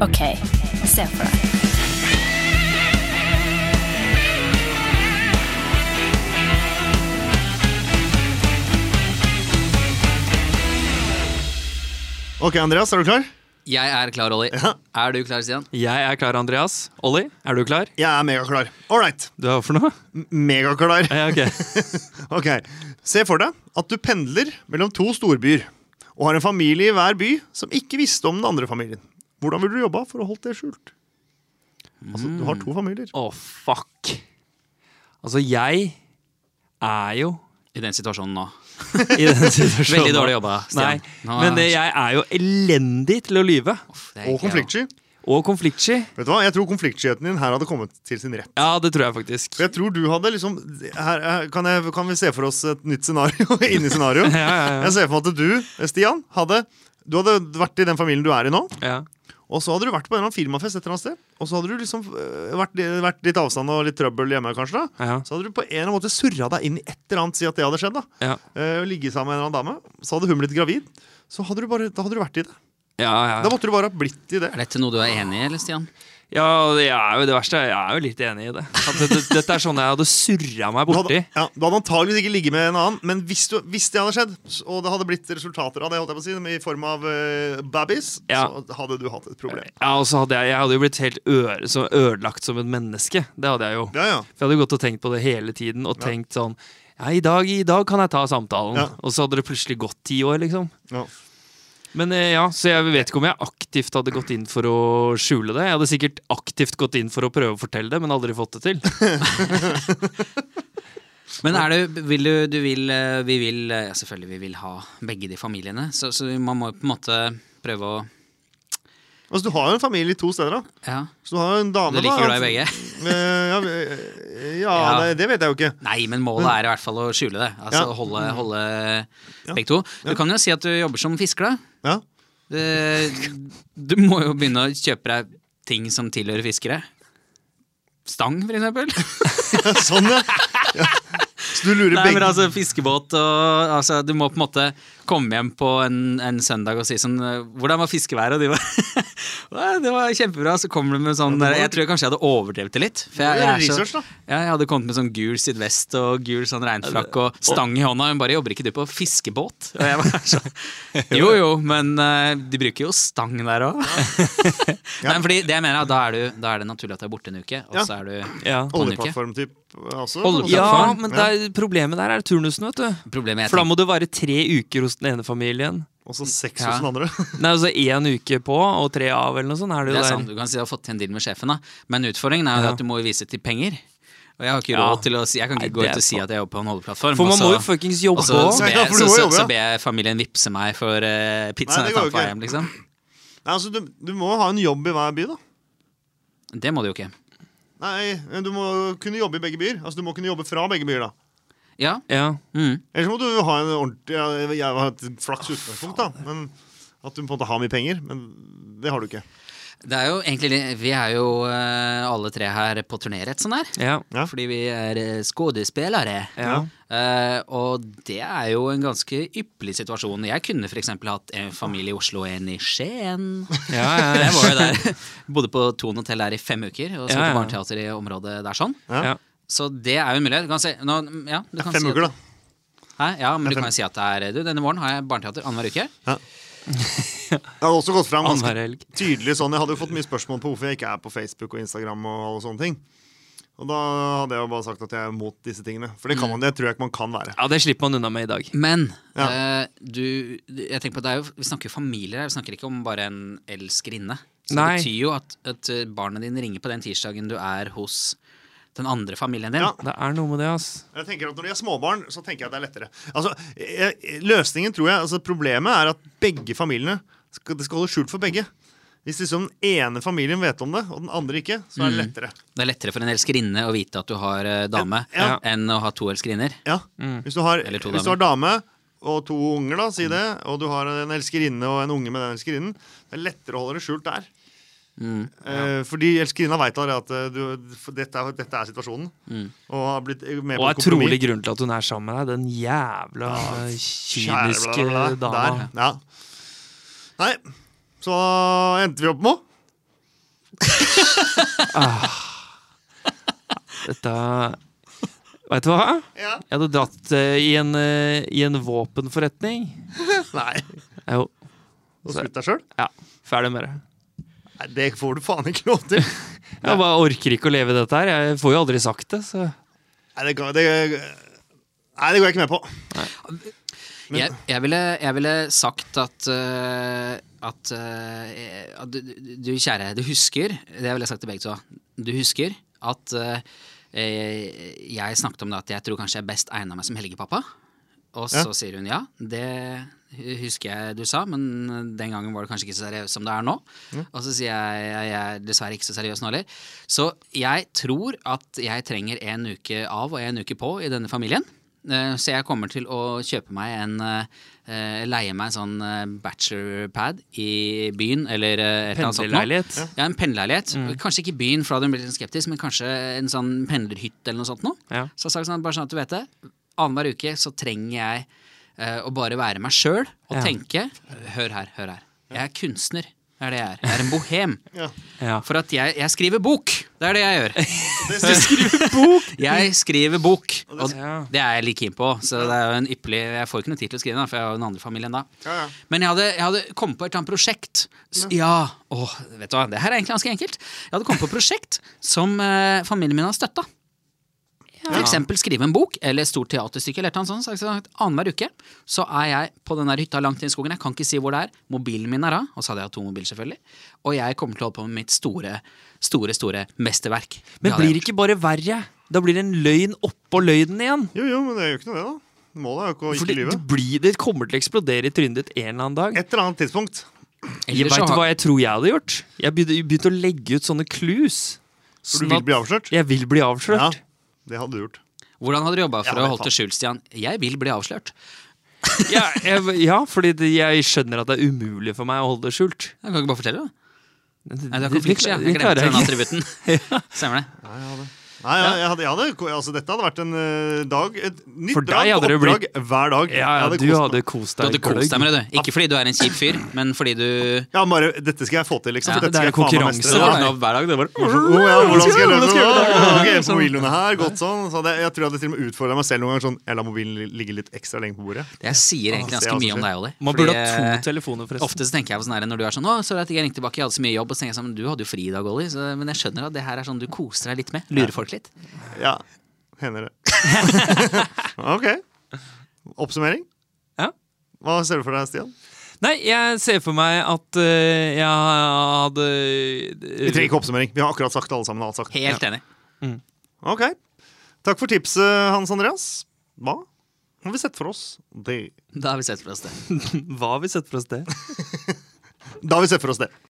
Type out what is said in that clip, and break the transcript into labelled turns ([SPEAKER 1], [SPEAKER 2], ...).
[SPEAKER 1] OK, se for deg.
[SPEAKER 2] Ok, Andreas, er du klar?
[SPEAKER 3] Jeg er klar, Olli.
[SPEAKER 2] Ja.
[SPEAKER 3] Er du klar, Stian?
[SPEAKER 4] Jeg er klar, Andreas. Olli, er du klar?
[SPEAKER 2] Jeg er megaklar. All right.
[SPEAKER 4] Du er for noe?
[SPEAKER 2] M- Megaklar.
[SPEAKER 4] Ja, ok.
[SPEAKER 2] Ok, Se for deg at du pendler mellom to storbyer og har en familie i hver by som ikke visste om den andre familien. Hvordan ville du jobba for å holde det skjult? Altså, Du har to familier.
[SPEAKER 4] Å, fuck. Altså, jeg er jo
[SPEAKER 3] I den situasjonen nå.
[SPEAKER 4] i den situasjonen.
[SPEAKER 3] Veldig dårlig jobba,
[SPEAKER 4] Nei,
[SPEAKER 3] Stian. Nå er-
[SPEAKER 4] men det, jeg er jo elendig til å lyve.
[SPEAKER 3] Uff, det
[SPEAKER 2] Og
[SPEAKER 3] er ikke jeg, da.
[SPEAKER 2] konfliktsky.
[SPEAKER 4] Og konfliktsky.
[SPEAKER 2] Vet du hva? Jeg tror konfliktskyheten din her hadde kommet til sin rett.
[SPEAKER 4] Ja, det tror jeg faktisk.
[SPEAKER 2] For jeg tror du hadde liksom her, er- kan, jeg, kan vi se for oss et nytt scenario? inni scenario?
[SPEAKER 4] Ja, ja, ja.
[SPEAKER 2] Jeg ser for meg at du, Stian, hadde Du hadde vært i den familien du er i nå.
[SPEAKER 4] ja.
[SPEAKER 2] Og så hadde du vært på en eller annen firmafest et eller annet sted. Og så hadde du liksom øh, vært, vært litt avstand og litt trøbbel hjemme, kanskje. da
[SPEAKER 4] ja.
[SPEAKER 2] Så hadde du på en eller annen måte surra deg inn i et eller annet, si at det hadde skjedd. da
[SPEAKER 4] Ja.
[SPEAKER 2] Eh, og Ligge sammen med en eller annen dame. Så hadde hun blitt gravid. Så hadde du bare, da hadde du vært i det.
[SPEAKER 4] Ja,
[SPEAKER 2] Da
[SPEAKER 4] ja.
[SPEAKER 2] måtte du bare ha blitt i det.
[SPEAKER 3] Er dette noe du er enig i, eller, Stian?
[SPEAKER 4] ja, jeg er jo det verste. Jeg er jo litt enig i det. At dette, dette er sånn jeg hadde surra meg
[SPEAKER 2] Du hadde,
[SPEAKER 4] borti.
[SPEAKER 2] ja, du hadde antageligvis ikke ligget med en annen, men hvis, du, hvis det hadde skjedd, s- og det hadde blitt resultater av det, holdt jeg på å si, i form av eh, babies,
[SPEAKER 4] Ja. Eh.
[SPEAKER 2] så hadde du hatt et problem.
[SPEAKER 4] Ja, og så hadde jeg, jeg hadde jo blitt helt øre, så ødelagt som et menneske. Det hadde jeg jo.
[SPEAKER 2] Ja, ja.
[SPEAKER 4] For jeg hadde gått og tenkt på det hele tiden og tenkt sånn Ja, i dag, i dag kan jeg ta samtalen.
[SPEAKER 2] Ja.
[SPEAKER 4] Og så hadde det plutselig gått ti år, liksom.
[SPEAKER 2] ja.
[SPEAKER 4] Men eh, ja, Så jeg vet ikke om jeg aktivt hadde gått inn for å skjule det. Jeg hadde sikkert aktivt gått inn for å prøve å fortelle det, men aldri fått det til.
[SPEAKER 3] Men er det, vil du, du vil, eh, vi vil eh, ja, Selvfølgelig vi vil ha begge de familiene, så, så man må jo på en måte prøve å
[SPEAKER 2] Altså, du har jo en familie i to steder, da.
[SPEAKER 3] Ja,
[SPEAKER 2] Så du har jo en dame,
[SPEAKER 3] du liker
[SPEAKER 2] da.
[SPEAKER 3] glad i begge?
[SPEAKER 2] Eh, ja, eh, ja,
[SPEAKER 3] Ja.
[SPEAKER 2] Nei, det vet jeg jo ikke.
[SPEAKER 3] Nei, men målet er i hvert fall å skjule det. Altså
[SPEAKER 2] Ja. Mm.
[SPEAKER 3] holde, holde
[SPEAKER 2] Ja.
[SPEAKER 3] begge to. Du kan jo si at du jobber som fisker, da.
[SPEAKER 2] Ja.
[SPEAKER 3] Du, du må jo begynne å kjøpe deg ting som tilhører fiskere. Stang, for eksempel.
[SPEAKER 2] sånn, ja. ja. Så du lurer
[SPEAKER 3] Nei,
[SPEAKER 2] begge
[SPEAKER 3] men altså fiskebåt og altså, Du må på en måte komme hjem på en, en søndag og si sånn Hvordan var fiskeværet? Og de var «Nei, Det var kjempebra. Så kommer du med sånn
[SPEAKER 2] Ja, det var-
[SPEAKER 3] Jeg tror kanskje jeg hadde overdrevet det litt. For jeg,
[SPEAKER 2] Du gjør
[SPEAKER 3] jeg, er
[SPEAKER 2] research,
[SPEAKER 3] så,
[SPEAKER 2] da.
[SPEAKER 3] ja, jeg hadde kommet med sånn gul sydvest og gul sånn regnfrakk og stang i hånda. Hun bare Jobber ikke du på fiskebåt? Og jeg bare sånn Jo jo, men eh, de bruker jo stang der òg. Nei, fordi det jeg mener, er at da er, du, da er det naturlig at du er borte en uke, og
[SPEAKER 2] Ja.
[SPEAKER 3] så er du
[SPEAKER 4] Ja,
[SPEAKER 3] kan ikke.
[SPEAKER 2] Oljeplattform-typ eh, også.
[SPEAKER 3] Oljeplattform.
[SPEAKER 4] ja
[SPEAKER 3] Plattform.
[SPEAKER 4] men det er, problemet der er turnusen, vet du.
[SPEAKER 3] Problemet
[SPEAKER 4] For da
[SPEAKER 3] jeg
[SPEAKER 4] må du være tre uker hos den ene familien.
[SPEAKER 2] Og så sex
[SPEAKER 3] Ja.
[SPEAKER 2] hos den andre.
[SPEAKER 4] Nei, altså én uke på og tre av, eller noe sånt. Er det
[SPEAKER 3] Det
[SPEAKER 4] jo
[SPEAKER 3] er
[SPEAKER 4] der.
[SPEAKER 3] sant, Du kan si du har fått til en deal med sjefen, da. men utfordringen er jo
[SPEAKER 4] Ja.
[SPEAKER 3] at du må jo vise til penger. Og jeg har ikke
[SPEAKER 4] Ja.
[SPEAKER 3] råd til å si Jeg kan ikke
[SPEAKER 4] Nei,
[SPEAKER 3] gå
[SPEAKER 4] det
[SPEAKER 3] ut
[SPEAKER 4] er
[SPEAKER 3] og si
[SPEAKER 4] sant.
[SPEAKER 3] at jeg jobber på en holdeplattform.
[SPEAKER 4] For man
[SPEAKER 3] og
[SPEAKER 4] må
[SPEAKER 3] så-
[SPEAKER 4] jo fuckings jobbe
[SPEAKER 3] og så,
[SPEAKER 4] også.
[SPEAKER 3] så, ber,
[SPEAKER 2] Ja, for du
[SPEAKER 3] så,
[SPEAKER 2] må
[SPEAKER 3] så,
[SPEAKER 2] jobbe,
[SPEAKER 3] så
[SPEAKER 2] ja.
[SPEAKER 3] ber jeg familien vippse meg for eh, pizzaen
[SPEAKER 2] Nei, det
[SPEAKER 3] jeg
[SPEAKER 2] går
[SPEAKER 3] tar
[SPEAKER 2] jo
[SPEAKER 3] på vei
[SPEAKER 2] ikke.
[SPEAKER 3] hjem, liksom.
[SPEAKER 2] Nei, altså, du, du må ha en jobb i hver by, da.
[SPEAKER 3] Det må du jo ikke.
[SPEAKER 2] Nei, men du må kunne jobbe i begge byer. Altså, du må kunne jobbe fra begge byer, da.
[SPEAKER 3] Ja.
[SPEAKER 4] Ja.
[SPEAKER 3] Mm.
[SPEAKER 2] Ellers må du ha en ordentlig ja, Jeg har et flaks utgangspunkt, da. Men at du på en måte har mye penger. Men det har du ikke.
[SPEAKER 3] Det er jo egentlig litt- Vi er jo eh, alle tre her på turné, rett sånn her.
[SPEAKER 4] ja.
[SPEAKER 2] Ja.
[SPEAKER 3] Fordi vi er eh, skuespillere.
[SPEAKER 4] Ja.
[SPEAKER 3] Eh, og det er jo en ganske ypperlig situasjon. Jeg kunne f.eks. hatt en familie i Oslo og en i Skien.
[SPEAKER 4] Ja, ja,
[SPEAKER 3] Jeg
[SPEAKER 4] ja.
[SPEAKER 3] var jo der, bodde på Thon hotell der i fem uker og så
[SPEAKER 4] Ja, ja.
[SPEAKER 3] på barneteater i området der sånn.
[SPEAKER 4] ja.
[SPEAKER 3] Så det er jo en mulighet. Du kan si, nå, ja, du kan
[SPEAKER 2] Fem
[SPEAKER 3] si
[SPEAKER 2] uker,
[SPEAKER 3] at,
[SPEAKER 2] da.
[SPEAKER 3] Hæ? Ja, men du kan jo si at det er du, Denne våren har jeg barneteater annenhver uke.
[SPEAKER 2] Jeg har også gått fram
[SPEAKER 4] Annenhver
[SPEAKER 2] ganske
[SPEAKER 4] helg.
[SPEAKER 2] tydelig sånn. Jeg hadde jo fått mye spørsmål på hvorfor jeg ikke er på Facebook og Instagram. Og alle sånne ting Og da hadde jeg jo bare sagt at jeg er mot disse tingene. For det kan
[SPEAKER 4] Mm.
[SPEAKER 2] man, det tror jeg ikke man kan være.
[SPEAKER 4] ja, det slipper man unna med i dag.
[SPEAKER 3] Men
[SPEAKER 2] Ja.
[SPEAKER 3] eh, du, jeg tenker på at det er jo, vi snakker jo familier her, vi snakker ikke om bare en elskerinne. Så
[SPEAKER 4] Nei.
[SPEAKER 3] det betyr jo at, at eh, barnet dine ringer på den tirsdagen du er hos den andre familien din.
[SPEAKER 2] Ja.
[SPEAKER 4] Det er noe med det, ass.
[SPEAKER 2] Jeg tenker at Når de er småbarn, så tenker jeg at det er lettere. Altså, jeg- jeg- løsningen tror jeg, altså Problemet er at begge familiene skal, det skal holde skjult for begge. Hvis liksom den ene familien vet om det, og den andre ikke, så er
[SPEAKER 4] Mm.
[SPEAKER 2] det lettere.
[SPEAKER 3] Det er lettere for en elskerinne å vite at du har eh, dame,
[SPEAKER 2] Ja.
[SPEAKER 3] enn å ha to elskerinner.
[SPEAKER 2] Ja,
[SPEAKER 4] Mm.
[SPEAKER 2] Hvis du har,
[SPEAKER 3] Eller to
[SPEAKER 2] hvis du har dame og to unger, da, si det, og du har en elskerinne og en unge med den elskerinnen, det er lettere å holde det skjult der.
[SPEAKER 4] Mm.
[SPEAKER 2] Eh, fordi elskerinna veit allerede at eh, du, for dette, er, dette er situasjonen. Og har blitt eh, med
[SPEAKER 4] Mm. Og
[SPEAKER 2] på
[SPEAKER 4] er trolig grunnen til at hun er sammen med deg, den jævla eh, kyniske eh,
[SPEAKER 2] Kjære blablabla.
[SPEAKER 4] dama.
[SPEAKER 2] Der, ja. Nei, så endte vi opp med
[SPEAKER 4] Dette Veit du hva?
[SPEAKER 2] Ja.
[SPEAKER 4] Jeg hadde dratt eh, i, en, eh, i en våpenforretning.
[SPEAKER 2] Nei.
[SPEAKER 4] Jeg er Jo,
[SPEAKER 2] Og skutt deg sjøl?
[SPEAKER 4] ja. Ferdig med det.
[SPEAKER 2] Nei, det får du faen ikke lov til.
[SPEAKER 4] Jeg bare orker ikke å leve i dette her. Jeg får jo aldri sagt det, så
[SPEAKER 2] Nei, det, går- det, nei, det går jeg ikke med på. Men-
[SPEAKER 3] Jeg, jeg, ville, jeg ville sagt at øh, at, øh, at du, du- du kjære, du husker Det ville jeg sagt til begge to. Du husker at øh, eh, jeg snakket om det at jeg tror kanskje jeg er best egna meg som helgepappa. Og så
[SPEAKER 2] Ja.
[SPEAKER 3] sier hun ja, det husker jeg du sa, men den gangen var det kanskje ikke så seriøst som det er nå. Og så sier jeg jeg er dessverre ikke så seriøs nå heller. Så jeg tror at jeg trenger en uke av og en uke på i denne familien. Eh, Så jeg kommer til å kjøpe meg en eh, eh, Leie meg en sånn eh, bachelorpad i byen eller eh, et eller annet sånt nå.
[SPEAKER 4] Pendlerleilighet.
[SPEAKER 3] Ja, en pendlerleilighet. Kanskje ikke i byen, for da hadde hun blitt litt skeptisk, men kanskje en sånn pendlerhytte eller noe sånt noe.
[SPEAKER 4] Ja.
[SPEAKER 3] Så jeg har sagt sånn, bare sånn at du vet det, annenhver uke så trenger jeg eh, å bare være meg sjøl og
[SPEAKER 4] Ja.
[SPEAKER 3] tenke Hør her, hør her. Jeg er kunstner. Det er det jeg er. Jeg er en bohem.
[SPEAKER 2] Ja.
[SPEAKER 4] Ja.
[SPEAKER 3] For at jeg, jeg skriver bok. Det er det jeg gjør.
[SPEAKER 2] Det sier-
[SPEAKER 3] Jeg skriver bok. Og
[SPEAKER 4] Ja.
[SPEAKER 3] det er jeg litt keen på. Så det er jo en ypperlig Jeg får ikke noe tid til å skrive, den, da, for jeg har jo den andre familien da.
[SPEAKER 2] Ja, ja.
[SPEAKER 3] Men jeg hadde, jeg hadde kommet på et eller annet prosjekt s- Ja, åh, vet du hva, det her er egentlig ganske enkelt. Jeg hadde kommet på et prosjekt som eh, familien min har støtta. For eksempel skrive en bok eller et stort teaterstykke. eller et eller annet sånt, så jeg sa, Annenhver uke så er jeg på den der hytta langt inn i skogen. Jeg kan ikke si hvor det er. Mobilen min er av, og så hadde jeg hatt to mobiler, selvfølgelig. Og jeg kommer til å holde på med mitt store, store store mesterverk.
[SPEAKER 4] Men blir det ikke bare verre? Da blir det en løgn oppå løgnen igjen.
[SPEAKER 2] Jo, jo, men det gjør ikke noe, det, da. Målet er jo ikke å
[SPEAKER 4] For
[SPEAKER 2] ikke
[SPEAKER 4] det, det,
[SPEAKER 2] lyve.
[SPEAKER 4] blir, det kommer til å eksplodere i trynet ditt en eller annen dag.
[SPEAKER 2] Et eller annet tidspunkt.
[SPEAKER 4] Jeg vet du hva jeg tror jeg hadde gjort? Jeg begynte, begynte å legge ut sånne clues.
[SPEAKER 2] For du
[SPEAKER 4] sånn
[SPEAKER 2] vil
[SPEAKER 4] at
[SPEAKER 2] bli avslørt.
[SPEAKER 4] Jeg vil bli avslørt.
[SPEAKER 2] det hadde du gjort.
[SPEAKER 3] Hvordan hadde du jobba for
[SPEAKER 2] Ja,
[SPEAKER 3] å
[SPEAKER 2] men
[SPEAKER 3] holde det skjult, Stian? Jeg vil bli avslørt.
[SPEAKER 4] Ja, jeg, ja fordi det, jeg skjønner at det er umulig for meg å holde det skjult.
[SPEAKER 3] Jeg kan ikke bare fortelle det. Nei, det er
[SPEAKER 4] Det- det-
[SPEAKER 3] konfliktsky. ja.
[SPEAKER 4] det
[SPEAKER 3] Jeg glemte
[SPEAKER 4] klarer jeg
[SPEAKER 3] den
[SPEAKER 4] ikke.
[SPEAKER 3] attributten. Stemmer det.
[SPEAKER 2] Nei, jeg hadde. Nei, jeg, jeg hadde, jeg hadde, altså, dette hadde vært en eh, dag Et nytt
[SPEAKER 4] For deg
[SPEAKER 2] drag,
[SPEAKER 4] hadde det
[SPEAKER 2] oppdrag hver dag.
[SPEAKER 4] Ja,
[SPEAKER 2] Jeg
[SPEAKER 4] ja,
[SPEAKER 2] hadde
[SPEAKER 4] du
[SPEAKER 2] kost meg.
[SPEAKER 4] hadde
[SPEAKER 3] Du hadde
[SPEAKER 4] kost deg.
[SPEAKER 3] kost deg med det, du. Ikke fordi du er en kjip fyr, men fordi du
[SPEAKER 2] ja, bare, Dette skal jeg få til, liksom.
[SPEAKER 3] Ja,
[SPEAKER 2] for dette
[SPEAKER 4] det er
[SPEAKER 2] skal jeg faen meg
[SPEAKER 4] konkurranse,
[SPEAKER 2] mestre.
[SPEAKER 4] da.
[SPEAKER 2] Ja.
[SPEAKER 3] hver dag. Det var
[SPEAKER 2] Oh, ja, hvordan skal jeg løpe
[SPEAKER 4] Hvordan skal jeg
[SPEAKER 2] nå?
[SPEAKER 4] gjøre
[SPEAKER 2] Ok, så mobilen er her, godt sånn. Så hadde jeg, jeg tror jeg hadde til og med utfordra meg selv noen ganger sånn Jeg lar mobilen li- ligge litt ekstra lenge på bordet.
[SPEAKER 3] Jeg sier egentlig
[SPEAKER 2] Det er
[SPEAKER 3] ganske
[SPEAKER 2] altså
[SPEAKER 3] mye om
[SPEAKER 2] skjønt.
[SPEAKER 3] deg, Olli.
[SPEAKER 4] Man burde
[SPEAKER 3] Fordi,
[SPEAKER 4] ha
[SPEAKER 3] eh,
[SPEAKER 4] to telefoner, forresten.
[SPEAKER 3] Ofte så tenker jeg på sånn her, når du er sånn 'Å, så rart ikke jeg ringte tilbake, jeg hadde så mye jobb', og så tenker jeg sånn 'Du hadde jo fri i dag, Olli', så, men jeg skjønner at det her er sånn du koser deg litt med. Lurer folk litt.
[SPEAKER 2] Ja, hender det. ok. Oppsummering?
[SPEAKER 4] Ja.
[SPEAKER 2] Hva ser du for deg, Stian?
[SPEAKER 4] Nei, jeg ser for meg at eh, jeg hadde
[SPEAKER 2] Vi trenger ikke oppsummering. Vi har akkurat sagt det, alle sammen. har alt sagt.
[SPEAKER 3] Helt enig.
[SPEAKER 2] Ok. Takk for tipset, Hans Andreas. Hva har vi sett for oss? Det.
[SPEAKER 3] Da har vi sett for oss det.
[SPEAKER 4] Hva har vi sett for oss det?
[SPEAKER 2] Da har vi sett for oss det.